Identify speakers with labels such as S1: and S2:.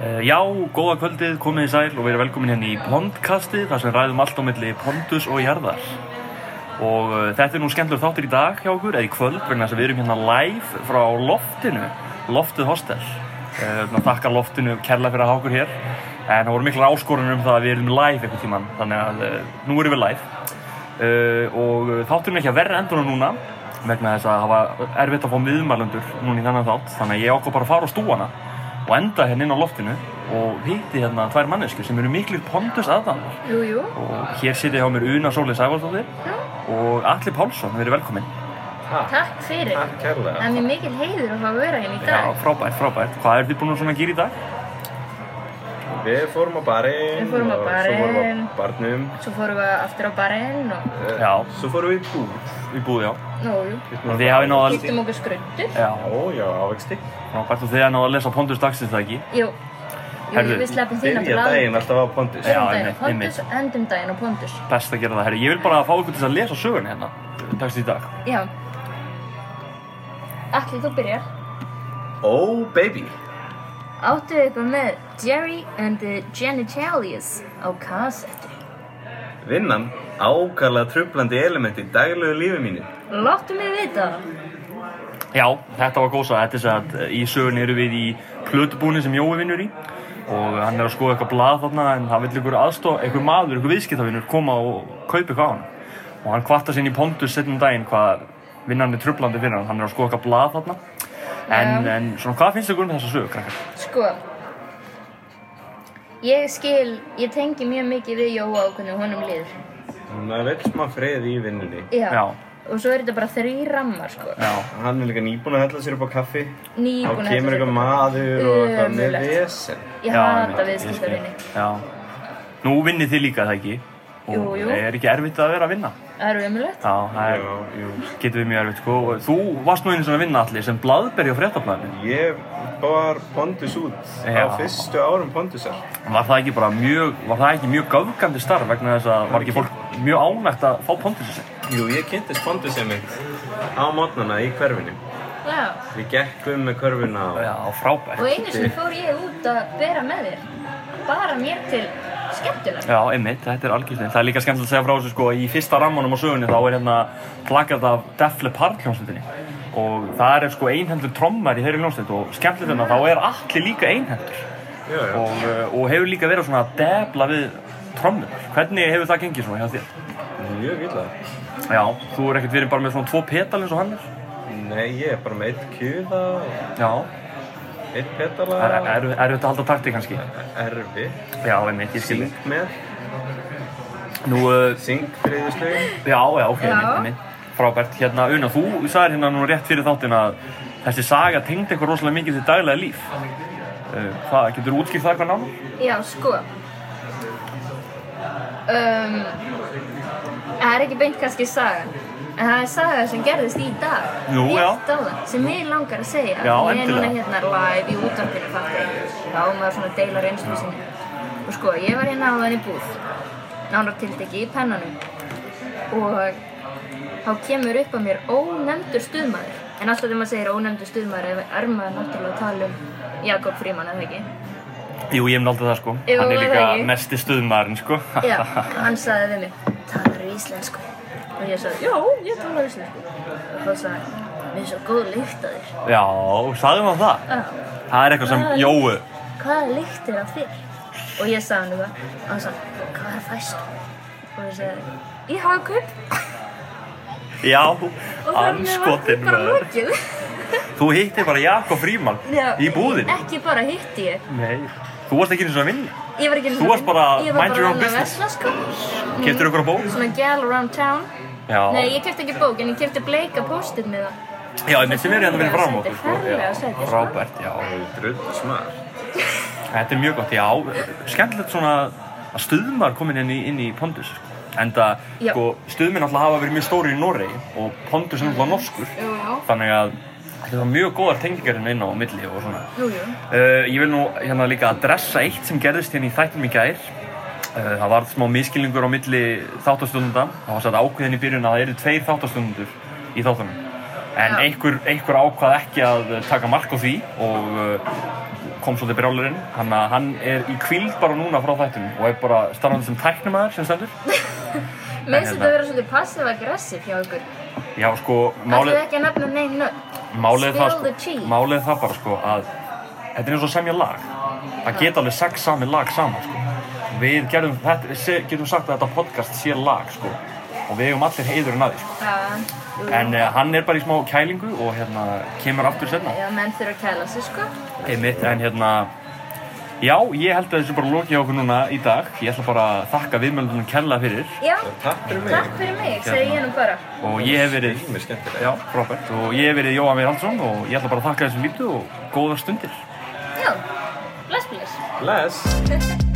S1: Eh, Já, góða kvöldið, komið í sæl og verið velkomin hérna í Pondkastið, þar sem ræðum allt á milli Pondus og Jarðar. Og eh, þetta er nú skemmtilegur þáttur í dag hjá okkur, eða í kvöld, vegna þess að við erum hérna live frá loftinu, loftið hostel. Eh, Þannig að þakka loftinu kærlega fyrir að hafa okkur hér. En það voru mikla áskorunum um það að við erum live eitthvað tíman, þannig að eh, nú erum við live. Eh, og þátturinn er ekki að verra endunum núna vegna þess að hafa erfitt að fá miðumælundur núna í þennan þátt þannig að ég ákvað bara að fara á stúana og enda hérna inn á loftinu og hitti hérna tvær mannesku sem eru miklir pondus aðdæðanar
S2: Jú, jú.
S1: og hér sitja hjá mér Una Sóli Sævaldsdóttir og Atli Pálsson, við erum velkomin
S2: Takk fyrir.
S3: Takk kærlega.
S2: Það er mér mikil heiður að fá að vera hérna í
S1: Já,
S2: dag.
S1: frábært, frábært Hvað er þið búin að svona gera í dag?
S3: Við fórum á barinn.
S2: Við fórum á
S3: og Svo
S2: barinn.
S3: fórum á barnum.
S2: Svo fórum við aftur á barinn og,
S3: eh,
S1: Já.
S3: Svo fórum við í búð.
S1: Í búð, já
S2: nú, jú,
S1: Og þið hafið náð að
S2: giftum okkur skröndur.
S1: Já,
S3: Ó, já, ávexti.
S1: frábært og þið hafið náð að lesa pondus dagsins það ekki
S2: Jú, jú
S1: Herðu,
S2: við sleppum því
S3: Byrja daginn alltaf á pondus.
S1: Já.
S2: Byrjum daginn á
S1: einmitt,
S2: Pondus, endum daginn á Pondus.
S1: Best að gera það, herri Ég vil bara fá ykkur til þess að lesa söguna hérna Dagsins í dag
S2: Já. Allir, þú byrjar.
S3: Ó, baby.
S2: Áttu eitthvað með Jerry and the Genitalias á kassetti.
S3: Vinnan ákala trublandi element í daglegu lífi mínu.
S2: Láttu mig vita.
S1: Já, þetta var gósa, þetta er sem að í sögun eru við í plötubúni sem Jói vinnur í og hann er að skoða eitthvað blað þarna en það vill ykkur aðstof, ykkur maður, ykkur viðskiptavinnur koma og kaupa eitthvað á hann og hann kvarta sinni í pondus setjum daginn hvað vinnan er trublandi fyrir hann, hann er að skoða eitthvað blað þarna en, en svona hvað finnst ykkur um þessa sögu, krakkar?
S2: Sko, ég skil, ég tengi mjög mikið við Jóa og hvernig honum líður.
S3: Hún vil smá frið í vinnunni.
S2: Já.
S1: Já.
S2: Og svo er þetta bara þrý rammar, sko.
S1: Já,
S3: Hann er líka nýbúin að hella sér upp á kaffi. Þá
S2: Nýbúin
S3: kemur eitthvað maður og eitthvað með
S2: Ömurlegt.
S3: vesen.
S2: Ég
S1: já,
S2: hata
S1: einmitt, ég skil.
S2: viðskiptavinni.
S1: Já, nú vinnið þið líka það ekki og
S2: Jú, jú.
S1: er ekki erfitt að vera að vinna
S2: Það er ömulegt.
S1: Já, það er,
S3: Já, jú.
S1: getur við mjög erfitt sko og þú varst nú einu svona að vinna allir sem blaðberi á fréttablaðinu
S3: Ég var pondus út
S1: Já.
S3: á fyrstu árum pondusar.
S1: Var það ekki bara mjög, var það ekki mjög gafgandi starf vegna þess að var ekki fólk mjög ánægt að fá pontus þessi?
S3: Jú, ég kynntist Pondusi mitt á mótnana í hverfinu.
S2: Já.
S3: Við gekkum með hverfuna og
S1: Já, frábært.
S2: Og einu sem fór ég út að bera með þér. Bara mér til skemmtilega.
S1: Já, einmitt, þetta er algjörlega. Það er líka skemmtilegt að segja frá þessu sko, í fyrsta rammanum á sögunni þá er hérna plakat af Def Leppard hljómsveitinni og það er sko einhendur trommar í þeirri hljómsveit og skemmtilegt hérna þá er allir líka einhendur
S3: já, já.
S1: og, uh, og hefur líka verið svona að debla við trommur. Hvernig hefur það gengið svona hjá þér?
S3: mjög illa.
S1: Já, þú er ekkert verið bara með svona tvo petal eins og hann er?
S3: Nei, ég er bara með eitt kjúða,
S1: Já,
S3: eitt petala,
S1: það er erfitt er, að halda takti kannski.
S3: erfi,
S1: Já, einmitt, ég skil þig.
S3: syng með,
S1: Nú, uh,
S3: syng þriðu slögin.
S1: já, já, ok,
S2: Já.
S1: einmitt, einmitt. Frábært, hérna, Una, þú sagðir hérna nú rétt fyrir þáttin að þessi saga tengdi eitthvað rosalega mikið til daglega líf. Uh, hvað, getur þú útskýrt það eitthvað náttúrulega?
S2: Já, sko. Um, það er ekki beint kannski sagan. En það er saga sem gerðist í dag.
S1: Jú, já.
S2: Rétt á það. Sem mig langar að segja.
S1: Já,
S2: ég er núna
S1: endilega.
S2: hérna live í útarpinu fattið. Þá á maður svona deilar einslu sinni. Og sko, ég var hérna á í búð. Nánar tiltekki í pennanum. og þá kemur upp að mér ónefndur stuðmaður en alltaf þegar maður segir ónefndur stuðmaður er maður náttúrulega að tala um Jakob Fríman eða ekki
S1: Jú, ég hef náttúrulega það, sko.
S2: Jú,
S1: hann er
S2: það
S1: líka
S2: er ég.
S1: mesti stuðmaðurinn, sko.
S2: já, hann sagði við mig talar í íslensku og ég sagði, já, ég talar íslensku og þá sagði hann, mér er svo góð lykt að þér
S1: já, sagðum hann það?
S2: Já.
S1: Það er eitthvað sem,
S2: Hvað?
S1: Jóu,
S2: hvaða lykt er af þér og ég sagði hann það og hann sagði, hvað er fæst og ég sagði, ég hafa kaup
S1: já,
S2: og þannig var því
S1: anskotin
S2: bara
S1: maður.
S2: lokið
S1: Þú hittir bara Jakob Fríman
S2: Já,
S1: í búðinni.
S2: ekki bara hitti ég
S1: Nei. Þú varst ekki eins og að vinna.
S2: Ég var ekki
S1: Þú varst bara
S2: Ég var
S1: mind your
S2: bara
S1: own
S2: að
S1: business.
S2: vesla sko
S1: Keftir okkur á bók?
S2: Svona gal around town
S1: Já.
S2: Nei, ég kefti ekki bók en ég kefti bleika post-it með það
S1: Já, einmitt sem eru hérna fyrir fram á okkur, sko.
S2: Ferlega sæti,
S1: Já,
S2: sko.
S1: Frábært, já.
S3: Drull smar.
S1: Þetta er mjög gott, já. Skemmtilegt svona að stuðmar komin inn í, inn í Pondus. sko. Enda,
S2: Já.
S1: sko, stuðminn alltaf hafa verið mjög stóri í Noregi og Pondus er alltaf norskur.
S2: Jú, jú.
S1: Þannig að þetta var mjög góðar tengingar hérna inn á milli og svona.
S2: Jú, jú
S1: Uh, ég vil nú hérna líka adressa eitt sem gerðist hérna í þættinum í gær. Uh, það varð smá miskilningur á milli þáttastundunda. Það var satt ákveðin í byrjun að það eru tveir þáttastundur í þáttunum. En
S2: Já.
S1: einhver, einhver ákvað ekki að taka mark á því og uh, kom svolítið brjálurinn hann, hann er í kvíld bara núna frá þættum og er bara starfandi sem tæknumæður sem stendur
S2: Mér finnst þetta að vera svolítið passiv-aggressiv hjá ykkur.
S1: Já, sko,
S2: Málið...
S1: málið,
S2: Ætlaðu ekki að nefna neinn nöfn.
S1: málið, er það,
S2: Spill the
S1: sko,
S2: tea.
S1: málið er það bara sko að þetta er eins og að semja lag það geta alveg sagt sami lag saman sko við gerum, þetta, se- getum sagt að þetta podcast sé lag sko og við hefum allir heiðurinn að því sko
S2: Já, jú,
S1: en
S2: jú.
S1: uh, hann er bara í smá kælingu og hérna kemur aftur senna
S2: Já, menn þurfa að kæla sig, sko.
S1: Einmitt, en hérna Já, ég held að þessu bara loki á okkur núna í dag Ég ætla bara að þakka viðmjöldunum kella fyrir
S2: Já,
S3: Takk fyrir mig.
S2: takk fyrir mig, segi ég nú bara.
S1: Og ég hef verið
S3: Mjög skemmtilega.
S1: Já, Robert Og ég hef verið Jóa Meir Haldsson Og ég ætla bara að þakka þessum lítu og góðar stundir
S2: Já, bless, bless.
S3: Bless.